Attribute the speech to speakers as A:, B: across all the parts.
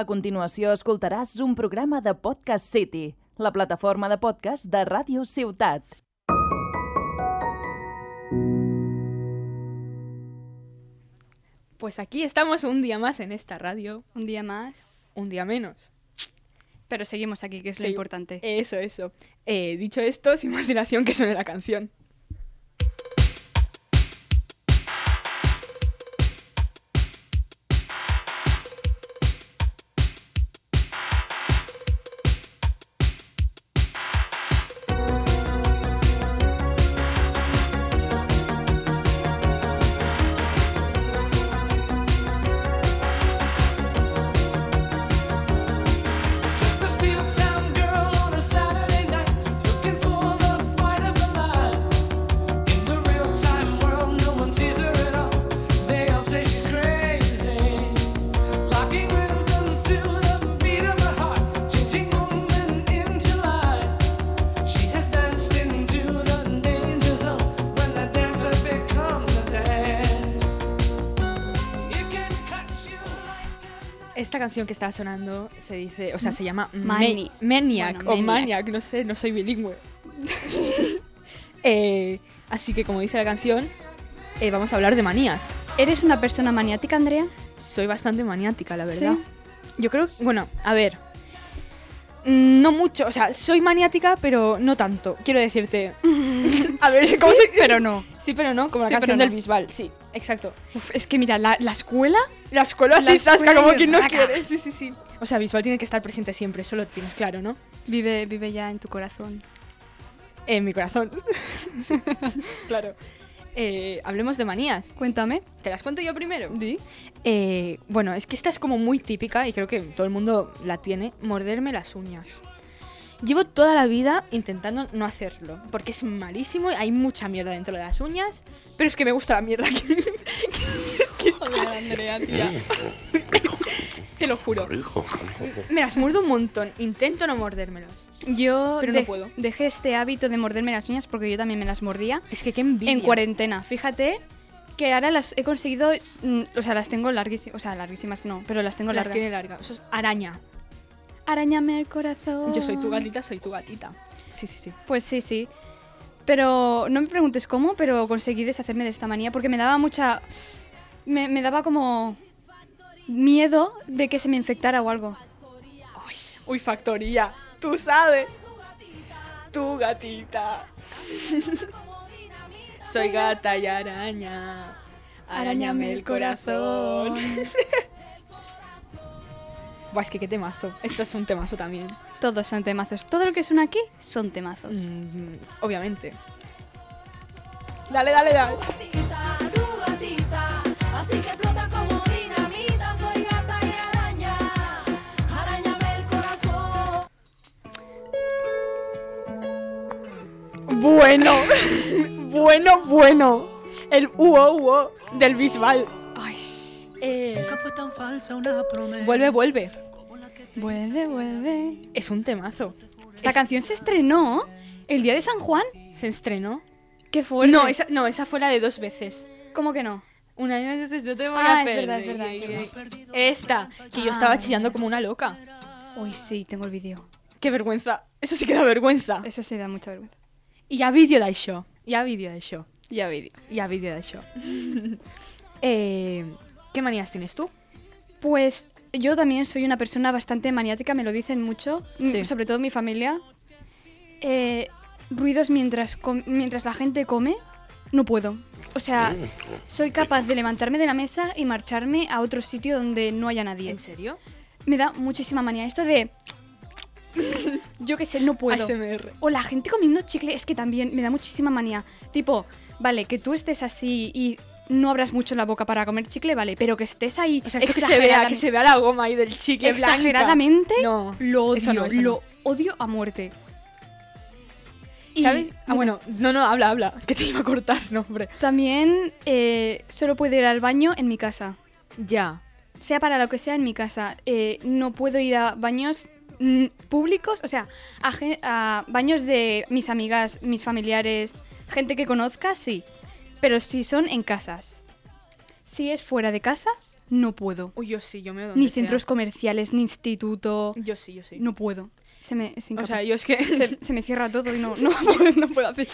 A: A continuació escoltaràs un programa de Podcast City, la plataforma de podcast de Ràdio Ciutat.
B: Pues aquí estamos un día más en esta radio,
C: Un día más,
B: un día menos.
C: pero seguimos aquí, que es lo
B: Sí.
C: importante.
B: Eso, eso. Eh, dicho esto, sin más dilación, que suene la canción.
D: Just a steel town girl on a Saturday night, looking for the fight of her life. In the real time world, no one sees her at all. They all say she's crazy. Locking rhythms to the beat of her heart, changing woman into life. She has danced into the danger zone. When the dancer becomes a dance, you can catch you like.
B: Esta canción que estaba sonando se dice, o sea, se llama
C: Mani-
B: Ma- Maniac
C: Bueno,
B: o
C: Maniac.
B: Maniac, no sé, no soy bilingüe. Eh, así que, como dice la canción, eh, vamos a hablar de manías.
C: ¿Eres una persona maniática, Andrea?
B: Soy bastante maniática, la verdad.
C: Sí.
B: Yo creo, bueno, a ver. mm, No mucho, o sea, soy maniática, pero no tanto. Quiero decirte. A ver, ¿cómo se.?
C: Pero no.
B: Sí, pero no, como la
C: Sí,
B: canción
C: pero no.
B: del Bisbal, sí, exacto.
C: Uf, es que mira, la, la escuela
B: Las escuela
C: La
B: así, zasca,
C: escuela
B: como
C: y
B: quien no
C: raca.
B: quiere. Sí, sí, sí. O sea, Bisbal tiene que estar presente siempre, eso lo tienes claro, ¿no?
C: vive, vive ya en tu corazón.
B: En mi corazón. Sí, claro. Eh, hablemos de manías.
C: Cuéntame.
B: ¿Te las cuento yo primero?
C: Di.
B: Eh, bueno, es que esta es como muy típica y creo que todo el mundo la tiene, morderme las uñas. Llevo toda la vida intentando no hacerlo, porque es malísimo y hay mucha mierda dentro de las uñas, pero es que me gusta la mierda, que-
C: Joder, Andrea, tía.
B: te lo juro. Me las muerdo un montón, intento no mordérmelas.
C: Yo
B: Pero no
C: dej-
B: puedo.
C: dejé este hábito de morderme las uñas porque yo también me las mordía
B: Es que qué envidia.
C: en cuarentena. Fíjate que ahora las he conseguido, mm, o sea, las tengo larguísimas, o sea, larguísimas no, pero las tengo
B: Las
C: largas.
B: tiene largas. Eso es araña.
C: Arañame el corazón.
B: Yo soy tu gatita, soy tu gatita. Sí, sí, sí.
C: Pues sí, sí. Pero no me preguntes cómo, pero conseguí deshacerme de esta manía porque me daba mucha... Me, me daba como miedo de que se me infectara o algo.
B: Uy, factoría. Tú sabes. Tu gatita. Soy gata y araña. Arañame el corazón. Buah, es que qué temazo. Esto es un temazo también.
C: Todos son temazos. Todo lo que suena aquí son temazos.
B: Mm, obviamente. Dale, dale, dale.
E: Tu gatita, así que explota como dinamita, soy gata y araña, arañame el corazón.
B: Bueno. bueno, bueno. El uo uo del Bisbal.
C: Ay,
B: Eh,
F: Nunca fue tan falsa una promesa.
B: vuelve, vuelve.
C: vuelve, vuelve.
B: Es un temazo.
C: Esta canción se estrenó el día de San Juan.
B: ¿Se estrenó?
C: Qué fuerte.
B: No, esa, no, esa fue la de dos veces.
C: ¿Cómo que no?
B: Una de veces yo te voy
C: Ah,
B: a
C: es
B: perder.
C: verdad, es verdad, es
B: Esta, que yo
C: Ah.
B: estaba chillando como una loca.
C: Uy, sí, tengo el vídeo.
B: Qué vergüenza. Eso sí que da vergüenza.
C: Eso sí da mucha vergüenza.
B: Y a vídeo d'això. I a vídeo d'això.
C: Ya vídeo.
B: I a vídeo d'això. eh, ¿Qué manías tienes tú?
C: Pues yo también soy una persona bastante maniática, me lo dicen mucho, m-
B: Sí.
C: sobre todo mi familia. Eh, ruidos mientras, com- mientras la gente come, no puedo. O sea, soy capaz de levantarme de la mesa y marcharme a otro sitio donde no haya nadie.
B: serio?
C: Me da muchísima manía esto de... Yo qué sé, no puedo.
B: ASMR.
C: O la gente comiendo chicle, es que también me da muchísima manía. Tipo, vale, que tú estés así y no abras mucho la boca para comer chicle, vale, pero que estés ahí...
B: O sea, eso que se vea, que
C: exageradamente-
B: se vea la goma ahí del chicle blanca.
C: exageradamente
B: No.
C: lo odio,
B: eso no, eso no.
C: lo odio a muerte. Y
B: ¿Sabes? Ah, bueno, no, no, habla, habla. Que te iba a cortar, no, hombre.
C: también eh, solo puedo ir al baño en mi casa.
B: Ya.
C: Sea para lo que sea en mi casa. Eh, no puedo ir a baños mm, públicos, o sea, a, gen- a baños de mis amigas, mis familiares, gente que conozca, sí. Pero si son en casas. Si es fuera de casas, no puedo.
B: Uy, yo sí, yo me doy
C: Ni centros comerciales, ni instituto.
B: Yo sí, yo sí.
C: No puedo. Se me, es
B: o
C: incapaz.
B: sea, yo es que.
C: se, se me cierra todo y no, no, puedo- no puedo hacer.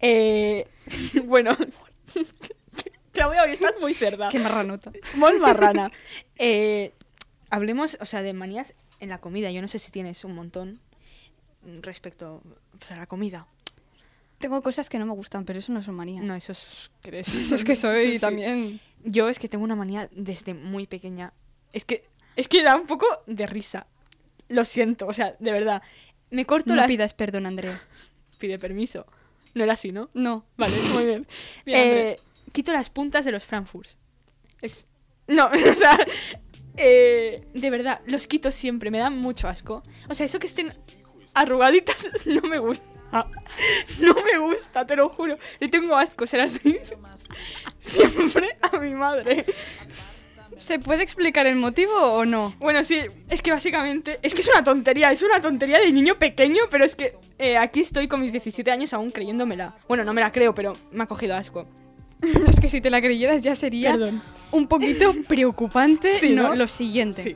B: Eh, bueno. Claudia, hoy estás muy cerda.
C: Qué marranota.
B: Muy marrana. Eh, hablemos, o sea, de manías en la comida. Yo no sé si tienes un montón respecto pues, a la comida.
C: Tengo cosas que no me gustan, pero eso no son manías. Mm,
B: No, eso es, crees.
C: Eso es que soy
B: Sí.
C: también.
B: Yo es que tengo una manía desde muy pequeña. Es que, es que da un poco de risa. Lo siento, o sea, de verdad. Me corto
C: No
B: las...
C: pidas perdón, Andrea.
B: Pide permiso. No era así, ¿no?
C: No.
B: Vale, muy bien.
C: Bien,
B: Eh, quito las puntas de los Frankfurts. No, o sea, eh, de verdad, los quito siempre, me dan mucho asco. O sea, eso que estén arrugaditas no me gusta. No me gusta, te lo juro. Le tengo asco, se las doy siempre a mi madre.
C: ¿Se puede explicar el motivo o no?
B: Bueno, sí, es que básicamente. Es que es una tontería, es una tontería de niño pequeño, pero es que eh, aquí estoy con mis 17 años aún creyéndomela. Bueno, no me la creo, pero me ha cogido asco.
C: Es que si te la creyeras ya sería
B: Perdón.
C: un poquito preocupante
B: Sí,
C: ¿no?
B: ¿no?
C: lo siguiente.
B: Sí.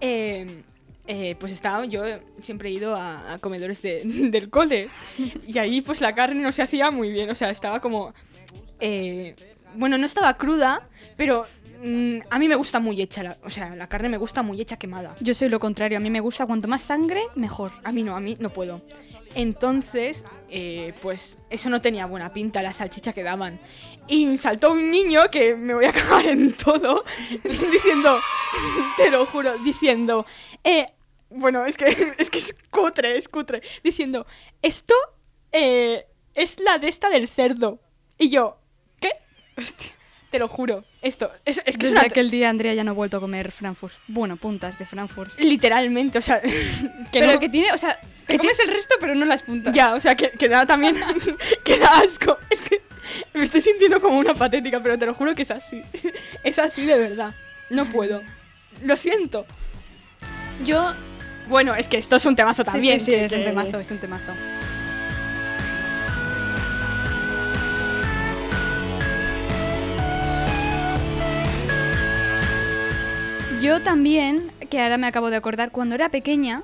B: Eh, eh, pues estaba, yo siempre he ido a, a comedores de- del cole y ahí pues la carne no se hacía muy bien, o sea, estaba como... eh, bueno, no estaba cruda, pero mm, a mí me gusta muy hecha, la- o sea, la carne me gusta muy hecha quemada.
C: Yo soy lo contrario, a mí me gusta cuanto más sangre, mejor.
B: A mí no, a mí no puedo. Entonces, eh, pues eso no tenía buena pinta, la salchicha que daban. Y saltó un niño que me voy a cagar en todo, diciendo, te lo juro, diciendo, eh, bueno, es que, es que es cutre, es cutre, diciendo, esto eh, es la de esta del cerdo. Y yo, ¿qué? Hostia, te lo juro, esto, es, es que es
C: Desde
B: una
C: aquel día Andrea ya no ha vuelto a comer Frankfurt. Bueno, puntas de Frankfurt.
B: Literalmente, o sea, que
C: pero
B: no-
C: que tiene, o sea,
B: que
C: te comes el resto pero no las puntas.
B: Ya, o sea, que, que da también. que da asco. Es que me estoy sintiendo como una patética, pero te lo juro que es así. Es así de verdad. No puedo. Lo siento.
C: Yo
B: Bueno, es que esto es un temazo también.
C: sí, sí,
B: que-
C: es un
B: que-
C: temazo, es un temazo. Yo también, que ahora me acabo de acordar, cuando era pequeña,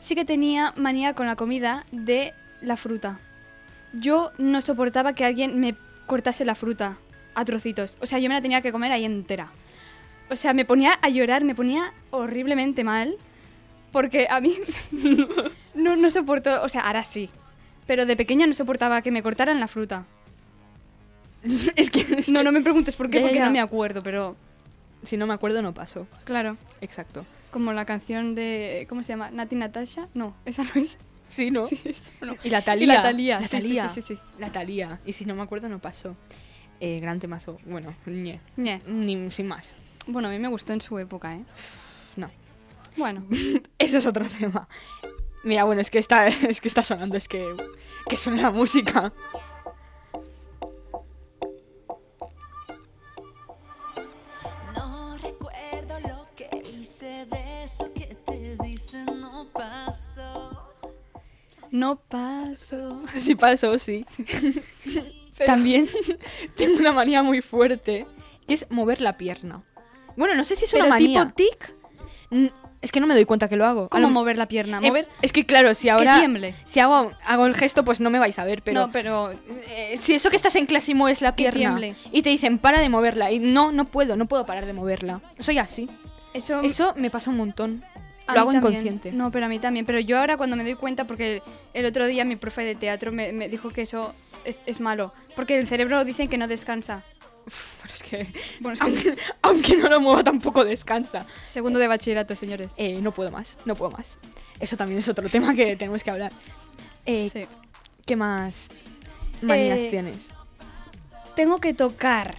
C: sí que tenía manía con la comida de la fruta. Yo no soportaba que alguien me cortase la fruta a trocitos. O sea, yo me la tenía que comer ahí entera. O sea, me ponía a llorar, me ponía horriblemente mal. Porque a mí no, no soporto, o sea, ahora sí. Pero de pequeña no soportaba que me cortaran la fruta.
B: Es que. es
C: No,
B: que-
C: no me preguntes por qué,
B: Ya, ya,
C: porque
B: ya.
C: no me acuerdo, pero
B: Si no me acuerdo, no paso.
C: claro.
B: Exacto.
C: Como la canción de, ¿cómo se llama? Nati Natasha. No, esa no es.
B: Sí, ¿no?
C: Sí, esa no.
B: Y la Talía.
C: Y la Thalía,
B: La
C: sí, sí,
B: Thalía.
C: sí, sí, sí.
B: La Thalía. Y si no me acuerdo, no paso. Eh, gran temazo. Bueno, ñe.
C: Ñe.
B: Ni, sin más.
C: Bueno, a mí me gustó en su época, ¿eh?
B: No.
C: Bueno,
B: Eso es otro tema. Mira, bueno, es que está, es que está sonando, es que, que suena la música.
F: No recuerdo lo que hice de eso que te dicen no pasó.
C: no paso.
B: Sí pasó, sí. También tengo una manía muy fuerte, que es mover la pierna. Bueno, no sé si es una
C: pero
B: manía.
C: tipo tic,
B: Mm, Es que no me doy cuenta que lo hago. A
C: ¿cómo
B: lo-
C: mover la pierna?
B: Eh,
C: Mover...
B: es que claro, si ahora...
C: tiemble.
B: Si hago, hago el gesto, pues no me vais a ver, pero...
C: No, pero
B: eh, si eso que estás en clase y mueves la
C: Que
B: pierna
C: tiemble.
B: y te dicen para de moverla y no, no puedo, no puedo parar de moverla. Soy así.
C: eso...
B: Eso me pasa un montón.
C: A
B: Lo
C: mí
B: hago
C: también.
B: inconsciente.
C: No, pero a mí también. Pero yo ahora cuando me doy cuenta, porque el otro día mi profe de teatro me, me dijo que eso es, es malo. Porque el cerebro dicen que no descansa.
B: Pero es que,
C: Bueno, es que-
B: aunque, aunque no lo mueva tampoco descansa.
C: segundo de bachillerato, señores.
B: Eh, no puedo más, no puedo más. Eso también es otro tema que tenemos que hablar. Eh,
C: Sí.
B: ¿Qué más manías
C: Eh,
B: tienes?
C: Tengo que tocar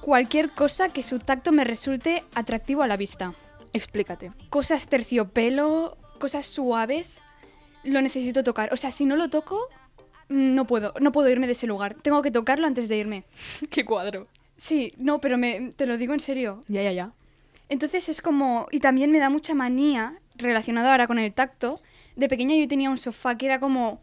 C: cualquier cosa que su tacto me resulte atractivo a la vista.
B: Explícate.
C: Cosas terciopelo, cosas suaves, lo necesito tocar. O sea, si no lo toco, mm, no puedo, no puedo irme de ese lugar. Tengo que tocarlo antes de irme.
B: ¿Qué cuadro?
C: Sí, no, pero me, te lo digo en serio.
B: Ya, ya, ya.
C: Entonces es como, y también me da mucha manía, relacionado ahora con el tacto, de pequeña yo tenía un sofá que era como,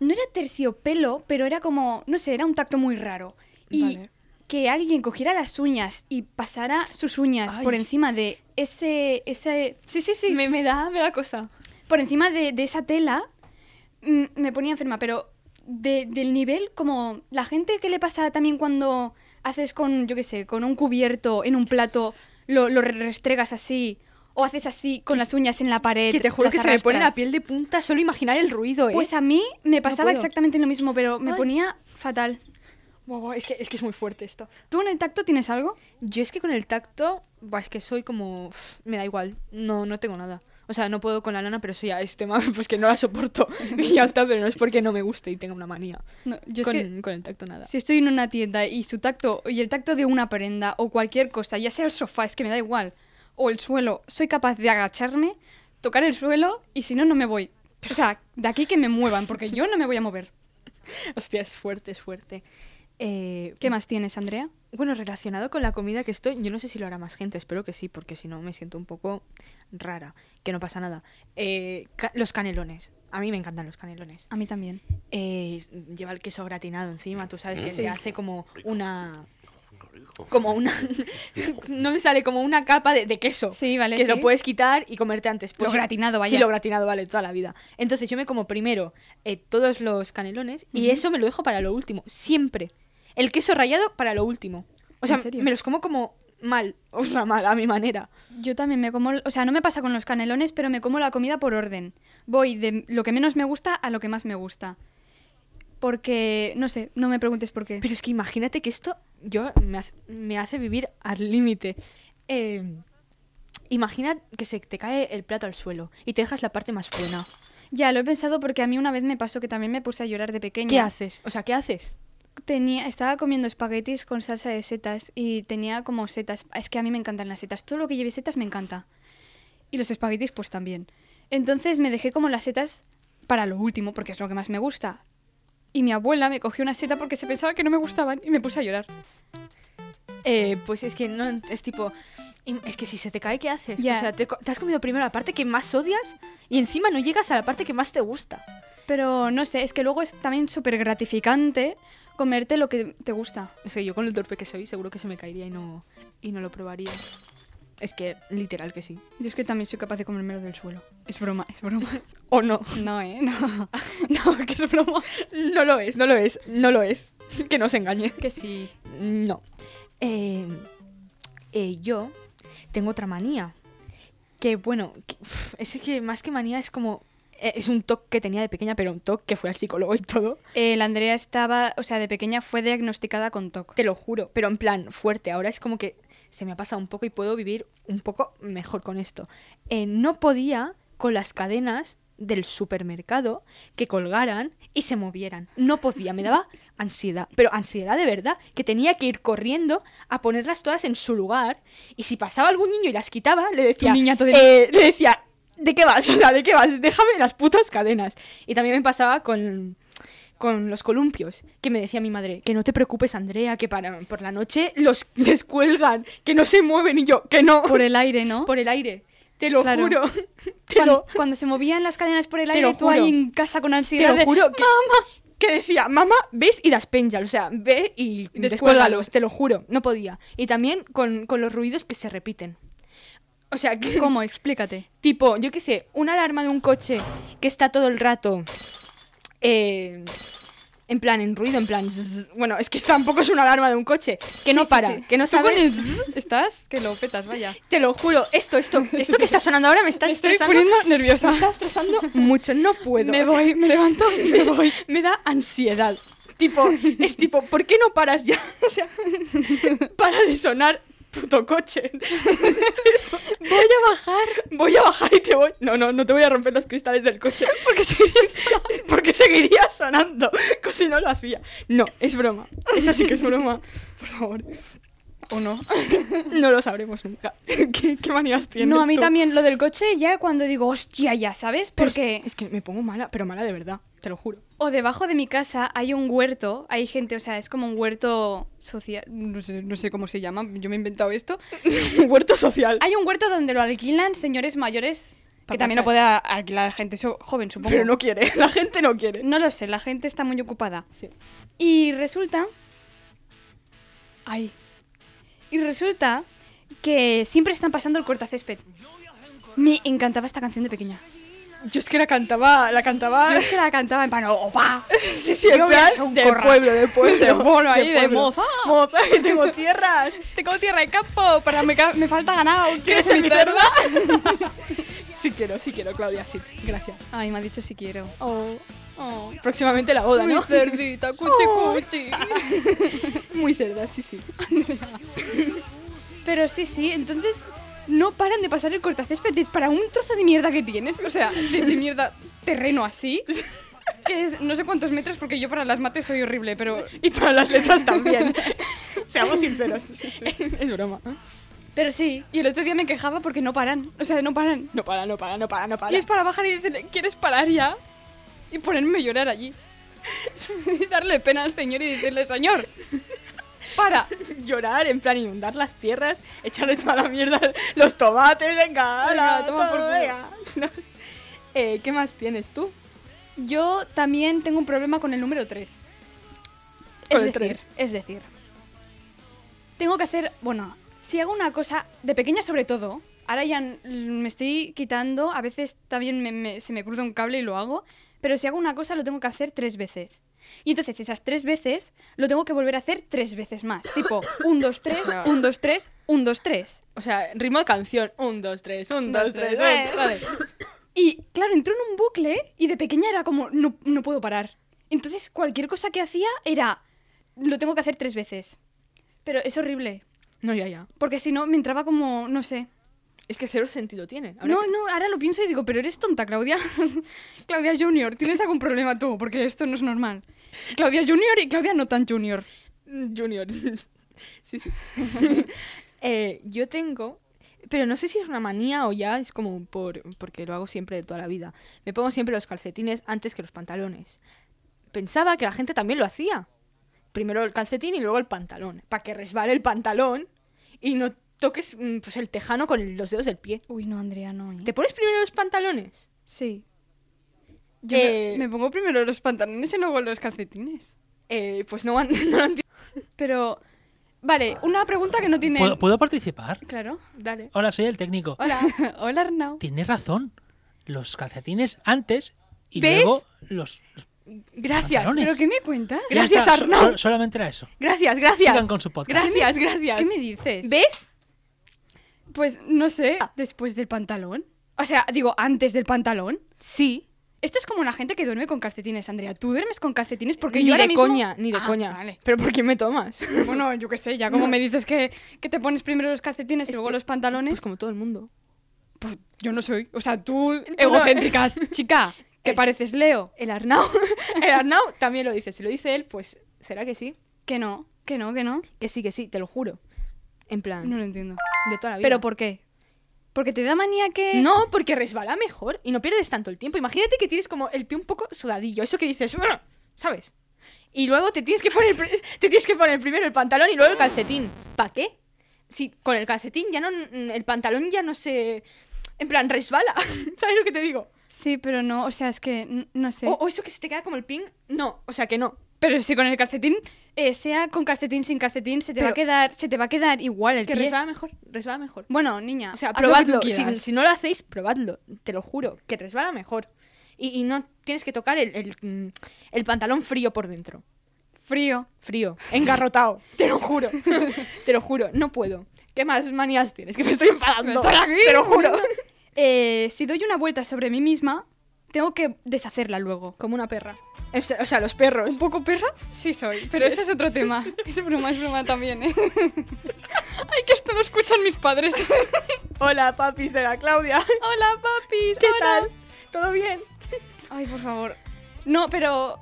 C: no era terciopelo, pero era como, no sé, era un tacto muy raro. Y
B: Vale.
C: que alguien cogiera las uñas y pasara sus uñas
B: Ay.
C: por encima de ese, ese, sí, sí, sí,
B: Me, me da, me da cosa.
C: por encima de, de esa tela, mm, me ponía enferma, pero de- del nivel como la gente que le pasa también cuando haces con, yo qué sé, con un cubierto en un plato, lo, lo restregas así, o haces así con las uñas en la pared.
B: Que te juro
C: Eh, las
B: que se me pone la
C: arrastras.
B: piel de punta solo imaginar el ruido, ¿eh?
C: Pues a mí me pasaba
B: puedo.
C: exactamente lo mismo, pero me
B: Ay.
C: ponía fatal.
B: Buah, buah, es, que, es que es muy fuerte esto.
C: ¿Tú en el tacto tienes algo?
B: Yo es que con el tacto, buah, es que soy como... uf, me da igual, no, no tengo nada. O sea, no puedo con la lana, pero eso ya es tema, pues que no la soporto. Y ya está, pero no es porque no me guste y tenga una manía.
C: No, yo
B: con,
C: es que
B: con el tacto nada.
C: si estoy en una tienda y su tacto y el tacto de una prenda o cualquier cosa, ya sea el sofá, es que me da igual, o el suelo, soy capaz de agacharme, tocar el suelo y si no, no me voy. O sea, de aquí que me muevan, porque yo no me voy a mover.
B: Hostia, es fuerte, es fuerte. Eh,
C: ¿Qué más tienes, Andrea?
B: Bueno, relacionado con la comida que estoy, yo no sé si lo hará más gente, espero que sí, porque si no me siento un poco rara, que no pasa nada. Eh, ca- los canelones, a mí me encantan los canelones.
C: A mí también.
B: Eh, s- lleva el queso gratinado encima, tú sabes que se hace como una... Como una... no me sale como una capa de, de queso.
C: Sí, vale,
B: Que
C: sí.
B: lo puedes quitar y comerte antes. Pues
C: Lo gratinado, vaya.
B: Sí, lo gratinado, vale, toda la vida. Entonces yo me como primero eh, todos los canelones y eso me lo dejo para lo último, siempre. El queso rallado para lo último. O
C: ¿En
B: sea,
C: serio?
B: me los como como mal, o sea, mal, a mi manera.
C: Yo también me como, o sea, no me pasa con los canelones, pero me como la comida por orden. Voy de lo que menos me gusta a lo que más me gusta. Porque, no sé, no me preguntes por qué.
B: Pero es que imagínate que esto yo me hace, me hace vivir al límite. Eh, imagina que se te cae el plato al suelo y te dejas la parte más buena.
C: Ya, lo he pensado porque a mí una vez me pasó que también me puse a llorar de pequeña.
B: ¿Qué haces? O sea, ¿qué haces?
C: Tenía, estaba comiendo espaguetis con salsa de setas y tenía como setas. Es que a mí me encantan las setas. Todo lo que lleve setas me encanta. Y los espaguetis pues también. Entonces me dejé como las setas para lo último porque es lo que más me gusta. Y mi abuela me cogió una seta porque se pensaba que no me gustaban y me puse a llorar.
B: Eh, pues es que no, es tipo, im- es que si se te cae, ¿qué haces?
C: Ya.
B: O sea, te, co- te has comido primero la parte que más odias y encima no llegas a la parte que más te gusta.
C: Pero no sé, es que luego es también súper gratificante comerte lo que te gusta.
B: Es que yo con el torpe que soy seguro que se me caería y no, y no lo probaría. Es que literal que sí.
C: Yo es que también soy capaz de comérmelo del suelo. Es broma, es broma.
B: O no.
C: No, ¿eh? No. No, que es broma.
B: No lo es, no lo es, no lo es. Que no se engañe. Mm,
C: Que sí.
B: No. Eh, eh, yo tengo otra manía. Que bueno, que- uf, es que más que manía es como... eh, Es un toque que tenía de pequeña, pero un toque que fue al psicólogo y todo.
C: Eh, la Andrea estaba, o sea, de pequeña fue diagnosticada con TOC.
B: Te lo juro, pero en plan fuerte. Ahora es como que se me ha pasado un poco y puedo vivir un poco mejor con esto. Eh, no podía con las cadenas del supermercado que colgaran y se movieran. No podía, me daba ansiedad, pero ansiedad de verdad, que tenía que ir corriendo a ponerlas todas en su lugar y si pasaba algún niño y las quitaba, le decía,
C: niñato de-
B: eh, le decía, ¿de qué vas? O sea, ¿de qué vas? Déjame las putas cadenas. Y también me pasaba con con los columpios, que me decía mi madre, que no te preocupes, Andrea, que para, por la noche los descuelgan, que no se mueven, y yo, que no,
C: Por el aire, ¿no?
B: por el aire, te lo
C: Claro.
B: juro, te
C: Cuan-
B: lo,
C: cuando, se movían las cadenas por el
B: Te
C: aire,
B: lo
C: tú ahí
B: juro.
C: en casa con
B: te
C: ansiedad.
B: lo
C: de,
B: juro, que, que decía, mamá, ves y das penjas, o sea, ve y
C: Descuélgalos.
B: descuélgalos, te lo juro, no podía. Y también con, con los ruidos que se repiten. O sea, que,
C: ¿Cómo? Explícate.
B: Tipo, yo qué sé, una alarma de un coche que está todo el rato. eh, en plan, en ruido, en plan. zzz. bueno, es que tampoco es una alarma de un coche. Que no
C: Sí, sí,
B: para,
C: sí.
B: que no
C: Tú con el
B: sabes.
C: zzz Estás que lo petas, vaya.
B: Te lo juro, esto, esto, esto que está sonando ahora me está
C: Me estoy
B: estresando.
C: poniendo nerviosa.
B: Me está estresando mucho, no puedo.
C: Ah, me
B: o sea,
C: voy, me levanto, me voy.
B: me da ansiedad. Tipo, es tipo, ¿por qué no paras ya? O sea, para de sonar, puto coche.
C: Voy a bajar.
B: Voy a bajar y te voy. No, no, no te voy a romper los cristales del coche. Porque seguiría sonando. Porque seguiría sonando. Como si no lo hacía. No, es broma. Eso sí que es broma. Por favor.
C: ¿O no?
B: No lo sabremos nunca. ¿Qué, qué manías tienes?
C: No, a mí
B: tú?
C: también lo del coche ya cuando digo, hostia, ya, ¿sabes?
B: Pero es que-
C: Porque...
B: es que me pongo mala, pero mala de verdad. Te lo juro.
C: O debajo de mi casa hay un huerto, hay gente, o sea, es como un huerto social, no sé, no sé cómo se llama, yo me he inventado esto.
B: Huerto social.
C: Hay un huerto donde lo alquilan señores mayores,
B: Pa'
C: que también lo puede
B: pasar.
C: a- alquilar gente so- joven, supongo.
B: pero no quiere. La gente no quiere.
C: No lo sé, la gente está muy ocupada.
B: Sí.
C: Y resulta Ay. Y resulta que siempre están pasando el cortacésped. Me encantaba esta canción de pequeña.
B: Yo es que la cantaba, la cantaba.
C: Yo es que la cantaba en plan, "Oh, ¡opa!
B: sí, sí, en
C: Yo voy a hacer
B: plan
C: un
B: del
C: corral.
B: pueblo, del pueblo.
C: De mono ahí, de
B: pueblo.
C: moza.
B: Moza, que tengo tierras.
C: Tengo tierra y campo, para me, ca- me falta ganado.
B: ¿Quieres
C: ¿Quieres
B: ser mi
C: mi cerda?
B: cerda? sí quiero, sí quiero, Claudia, sí. Gracias.
C: Ay, me ha dicho si quiero.
B: Oh, Próximamente la boda, ¿no?
C: cerdita, cuchi cuchi.
B: Muy cerda, sí, sí.
C: Pero sí, sí, entonces no paran de pasar el cortacésped. Es para un trozo de mierda que tienes, o sea, de, de mierda terreno así. Que es no sé cuántos metros, porque yo para las mates soy horrible, pero,
B: Y para las letras también. Seamos sinceros. Es broma.
C: pero sí. Y el otro día me quejaba porque no paran, o sea, no paran.
B: No para, no para, no para, no para.
C: Y es para bajar y decirle, ¿quieres parar ya? Y ponerme a llorar allí. y darle pena al señor y decirle, señor, para.
B: llorar, en plan inundar las tierras, echarle toda la mierda, los tomates, venga,
C: Venga,
B: ala,
C: toma
B: todo,
C: por culo.
B: venga. No. Eh, ¿Qué más tienes tú?
C: Yo también tengo un problema con el número 3.
B: Con
C: es
B: el
C: decir,
B: tres.
C: Es decir, tengo que hacer, bueno, si hago una cosa de pequeña sobre todo, ahora ya n- me estoy quitando, a veces también me- me- se me cruza un cable y lo hago, pero si hago una cosa lo tengo que hacer tres veces. Y entonces esas tres veces lo tengo que volver a hacer tres veces más. Tipo, 1, 2, 3,
B: No.
C: 1, 2, 3, 1, 2, 3.
B: O sea, ritmo de canción. Un, dos, tres, un, dos, tres, eh.
C: Vale. Y claro, entró en un bucle y de pequeña era como, no, no puedo parar. Entonces, cualquier cosa que hacía era, lo tengo que hacer tres veces. Pero es horrible,
B: No, ya, ya.
C: porque si no, me entraba como, no sé.
B: Es que cero sentido tiene. Ahora
C: No,
B: que-
C: no, ahora lo pienso y digo, pero eres tonta, Claudia. Claudia Junior, ¿tienes algún problema tú? Porque esto no es normal. Claudia Junior y Claudia no tan Junior.
B: Junior. sí, sí. Eh, yo tengo, pero no sé si es una manía o ya es como por porque lo hago siempre de toda la vida. Me pongo siempre los calcetines antes que los pantalones. Pensaba que la gente también lo hacía. Primero el calcetín y luego el pantalón, para que resbale el pantalón y no toques mm, pues el tejano con los dedos del pie.
C: Uy, no, Andrea, no. ¿eh?
B: ¿Te pones primero los pantalones?
C: Sí. Yo
B: Eh,
C: me, me pongo primero los pantalones y luego los calcetines.
B: Eh, pues no, an- no lo entiendo.
C: Pero, vale, una pregunta que no tiene...
G: ¿Puedo, puedo participar?
C: Claro.
B: Dale.
G: Hola, soy el técnico.
C: Hola. Hola, Arnau.
G: Tienes razón. Los calcetines antes y
B: ¿Ves?
G: luego los.
B: Gracias.
G: Pantalones.
C: ¿Pero qué me cuentas?
G: Ya
B: Gracias,
G: está, so-
B: Arnau.
G: so- solamente era eso.
B: Gracias, gracias.
G: Sigan con su podcast.
B: Gracias, gracias.
C: ¿Qué me dices?
B: ¿Ves?
C: Pues no sé,
B: Ah.
C: después del pantalón. O sea, digo, antes del pantalón.
B: Sí.
C: Esto es como la gente que duerme con calcetines, Andrea. ¿Tú duermes con calcetines? Porque
B: ni
C: yo ahora
B: de
C: mismo-
B: coña, ni de
C: Ah,
B: coña.
C: Vale.
B: Pero ¿por qué me tomas?
C: Bueno, yo qué sé, ya como me dices que, que te pones primero los calcetines y
B: Es
C: luego
B: que-
C: los pantalones,
B: Pues como todo el mundo.
C: pues yo no soy. O sea, tú, egocéntrica chica, que pareces Leo.
B: El Arnau, el Arnau también lo dice. Si lo dice él, pues será que sí.
C: Que no, que no, que no.
B: Que sí, que sí, te lo juro. En plan,
C: No lo entiendo.
B: de toda Ah. la vida.
C: ¿Pero por qué? ¿Porque te da manía que...?
B: No, porque resbala mejor y no pierdes tanto el tiempo. Imagínate que tienes como el pie un poco sudadillo, eso que dices, "Brr", ¿sabes? Y luego te tienes que poner pri- te tienes que poner primero el pantalón y luego el calcetín. ¿Para qué? Si con el calcetín ya no el pantalón ya no se en plan resbala. ¿Sabes lo que te digo?
C: Sí, pero no, o sea, es que n- no sé.
B: O, o eso que se te queda como el pin. No, o sea que no.
C: Pero si con el calcetín, eh, sea con calcetín, sin calcetín, se te va a
B: Pero-
C: quedar, se te va a quedar igual el
B: Que
C: pie.
B: resbala mejor, resbala mejor.
C: Bueno, niña,
B: O sea,
C: haz lo que tú
B: probadlo. Si,
C: quieras.
B: si no lo hacéis, probadlo. Te lo juro, que resbala mejor. Y, y no tienes que tocar el, el, mm, el pantalón frío por dentro.
C: Frío.
B: Frío, engarrotado, te lo juro. te lo juro, no puedo. ¿Qué más manías tienes? Que me estoy enfadando.
C: Estoy aquí.
B: Te lo juro.
C: Eh, si doy una vuelta sobre mí misma, tengo que deshacerla luego.
B: Como una perra. O sea, o sea, los perros.
C: ¿Un poco perra? Sí soy, pero eso es otro tema. Es broma, es broma también, ¿eh? Ay, que esto lo escuchan mis padres.
B: Hola, papis de la Claudia.
C: hola, papis,
B: ¿Qué
C: hola.
B: tal? ¿Todo bien?
C: Ay, por favor. No, pero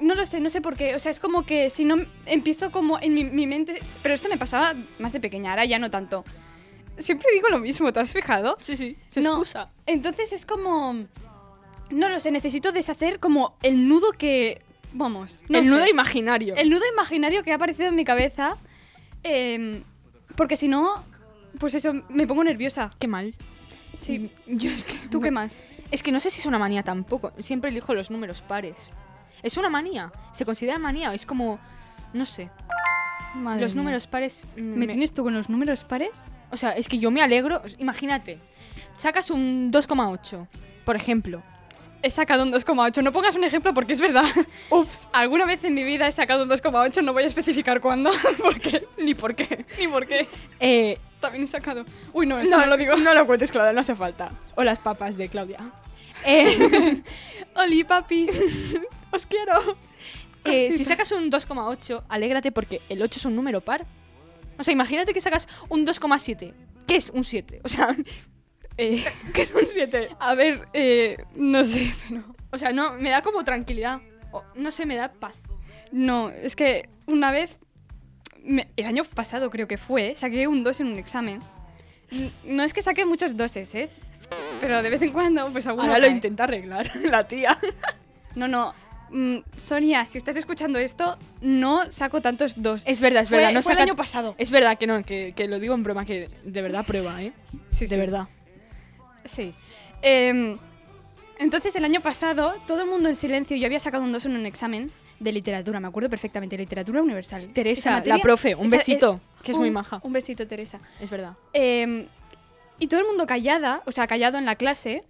C: no lo sé, no sé por qué. O sea, es como que si no empiezo como en mi, mi mente. Pero esto me pasaba más de pequeña, ahora ya no tanto. Siempre digo lo mismo, ¿te has fijado?
B: Sí, sí. Se
C: No.
B: excusa.
C: Entonces es como. No lo sé, necesito deshacer como el nudo que. Vamos. no
B: el nudo
C: sé.
B: imaginario.
C: El nudo imaginario que ha aparecido en mi cabeza. em, porque si no. Pues eso, me pongo nerviosa.
B: Qué mal.
C: Sí.
B: Yo es que
C: ¿Tú
B: no-
C: qué más?
B: Es que no sé si es una manía tampoco. Siempre elijo los números pares. ¿Es una manía? ¿Se considera manía? Es como. No sé.
C: Madre
B: los
C: mía.
B: números pares. mm,
C: ¿Me, tienes tú con los números pares?
B: O sea, es que yo me alegro. Imagínate, sacas un 2,8, por ejemplo.
C: He sacado un 2,8. No pongas un ejemplo porque es verdad. Ups. Alguna vez en mi vida he sacado un 2,8. No voy a especificar cuándo. porque
B: Ni por qué.
C: Ni por qué.
B: Eh,
C: También he sacado. Uy, no, esto no, lo digo.
B: No lo cuentes, Claudia, no hace falta. O las papas de Claudia. Eh,
C: Oli, papis.
B: os quiero. Eh, si sacas un 2,8, alégrate porque el 8 es un número par. O sea, imagínate que sacas un 2,7. ¿Qué es un 7? O sea,
C: Eh,
B: ¿qué es un 7?
C: a ver, eh, no sé, pero.
B: O sea, no, me da como tranquilidad. O, no sé, me da paz.
C: No, es que una vez, me- el año pasado creo que fue, saqué un 2 en un examen. N- No es que saque muchos doses, ¿eh? Pero de vez en cuando, pues alguno.
B: Ahora lo
C: cae.
B: intenta arreglar la tía.
C: No, no. Mm, Sonia, si estás escuchando esto, no saco tantos dos.
B: Es verdad, es
C: Fue-
B: verdad. no
C: fue el
B: saca-
C: año pasado.
B: Es verdad que no, que, que lo digo en broma, que de verdad prueba, ¿eh?
C: Sí,
B: de
C: sí.
B: verdad.
C: Sí. Em, entonces, el año pasado, todo el mundo en silencio. Yo había sacado un 2 en un examen de literatura, me acuerdo perfectamente, literatura universal. Esa
B: Teresa,
C: materia-
B: la profe, un
C: esa-
B: besito,
C: eh,
B: que es muy
C: un-
B: maja.
C: Un besito, Teresa.
B: Es verdad.
C: Eh, y todo el mundo callada, o sea, callado en la clase.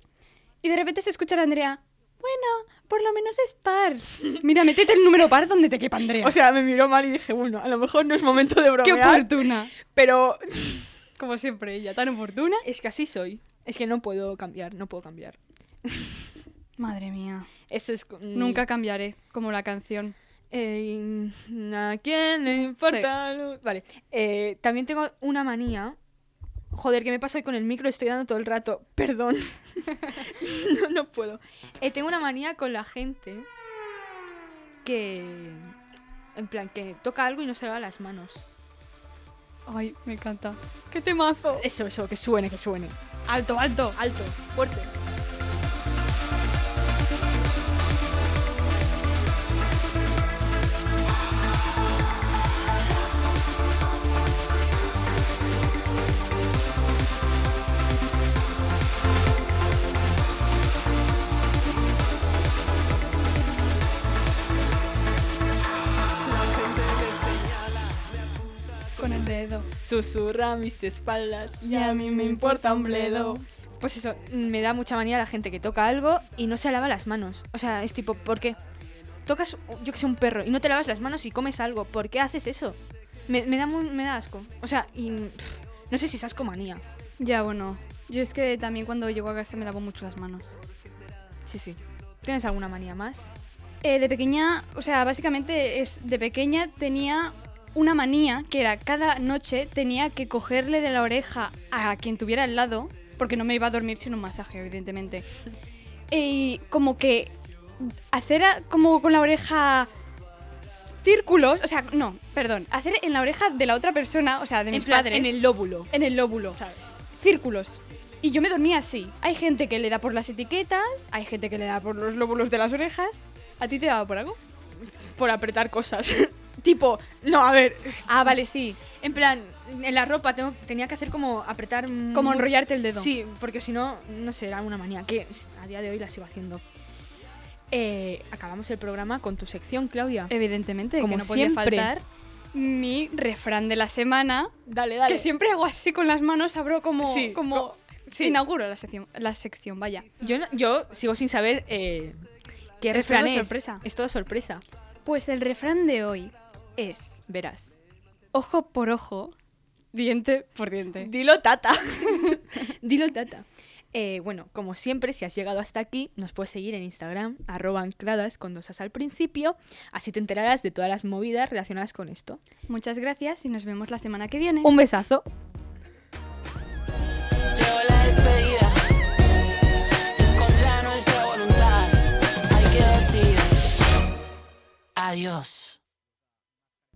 C: Y de repente se escucha a la Andrea. Bueno, por lo menos es par. Mira, métete el número par donde te quepa, Andrea.
B: O sea, me miró mal y dije, bueno, a lo mejor no es momento de
C: qué
B: bromear,
C: oportuna.
B: pero
C: Como siempre, ella, tan oportuna.
B: es que así soy. Es que no puedo cambiar, no puedo cambiar.
C: Madre mía.
B: Eso es co- mi-
C: Nunca cambiaré, como la canción.
B: Eh, ¿A quién le importa? lo- Vale. Eh, también tengo una manía. Joder, que me paso hoy con el micro, estoy dando todo el rato. Perdón. no, no puedo. Eh, tengo una manía con la gente que. En plan, que toca algo y no se va a las manos.
C: Ay, me encanta. ¡Qué temazo!
B: Eso, eso, que suene, que suene.
C: Alto, alto.
B: Alto, fuerte.
C: Con el dedo.
B: Susurra mis espaldas
C: Y a mí me importa un bledo.
B: Pues eso, me da mucha manía la gente que toca algo y no se lava las manos. O sea, es tipo, ¿por qué? Tocas, yo que sé, un perro y no te lavas las manos y comes algo. ¿Por qué haces eso? Me, me da, muy- me da asco. O sea, y pff, no sé si es asco manía.
C: Ya, bueno. Yo es que también cuando llego a casa me lavo mucho las manos.
B: Sí, sí. ¿Tienes alguna manía más?
C: Eh, de pequeña, o sea, básicamente es de pequeña tenía una manía que era cada noche tenía que cogerle de la oreja a quien tuviera al lado, porque no me iba a dormir sin un masaje, evidentemente. Y como que hacer a- como con la oreja círculos, o sea, no, perdón, hacer en la oreja de la otra persona, o sea, de mis
B: en plan,
C: padres,
B: en el lóbulo.
C: en el lóbulo
B: ¿Sabes?
C: círculos. Y yo me dormía así. Hay gente que le da por las etiquetas, hay gente que le da por los lóbulos de las orejas. ¿A ti te daba por algo?
B: Por apretar cosas. tipo, no, a ver.
C: Ah, vale, sí.
B: En plan, en la ropa tengo- tenía que hacer como apretar.
C: Como
B: muy-
C: enrollarte el dedo.
B: Sí, porque si no, no sé, era una manía que a día de hoy la sigo haciendo. Eh, acabamos el programa con tu sección, Claudia.
C: Eh, Evidentemente,
B: Como
C: que no podía
B: siempre.
C: faltar mi refrán de la semana.
B: dale, dale.
C: Que siempre hago así con las manos, abro como.
B: Sí,
C: como
B: co- sí.
C: Inauguro la sección, la sección, vaya.
B: Yo, no- yo sigo sin saber eh, qué
C: Es
B: refrán
C: todo
B: es.
C: sorpresa.
B: Es todo sorpresa.
C: Pues el refrán de hoy es:
B: Verás.
C: ojo por ojo, diente por diente.
B: Dilo, tata. Dilo, tata. Eh, bueno, como siempre, si has llegado hasta aquí, nos puedes seguir en Instagram, arroba ancladas con dos as al principio. Así te enterarás de todas las movidas relacionadas con esto.
C: Muchas gracias y nos vemos la semana que viene.
B: Un besazo.
H: Llegó la despedida, en contra de nuestra voluntad, hay que decir adiós.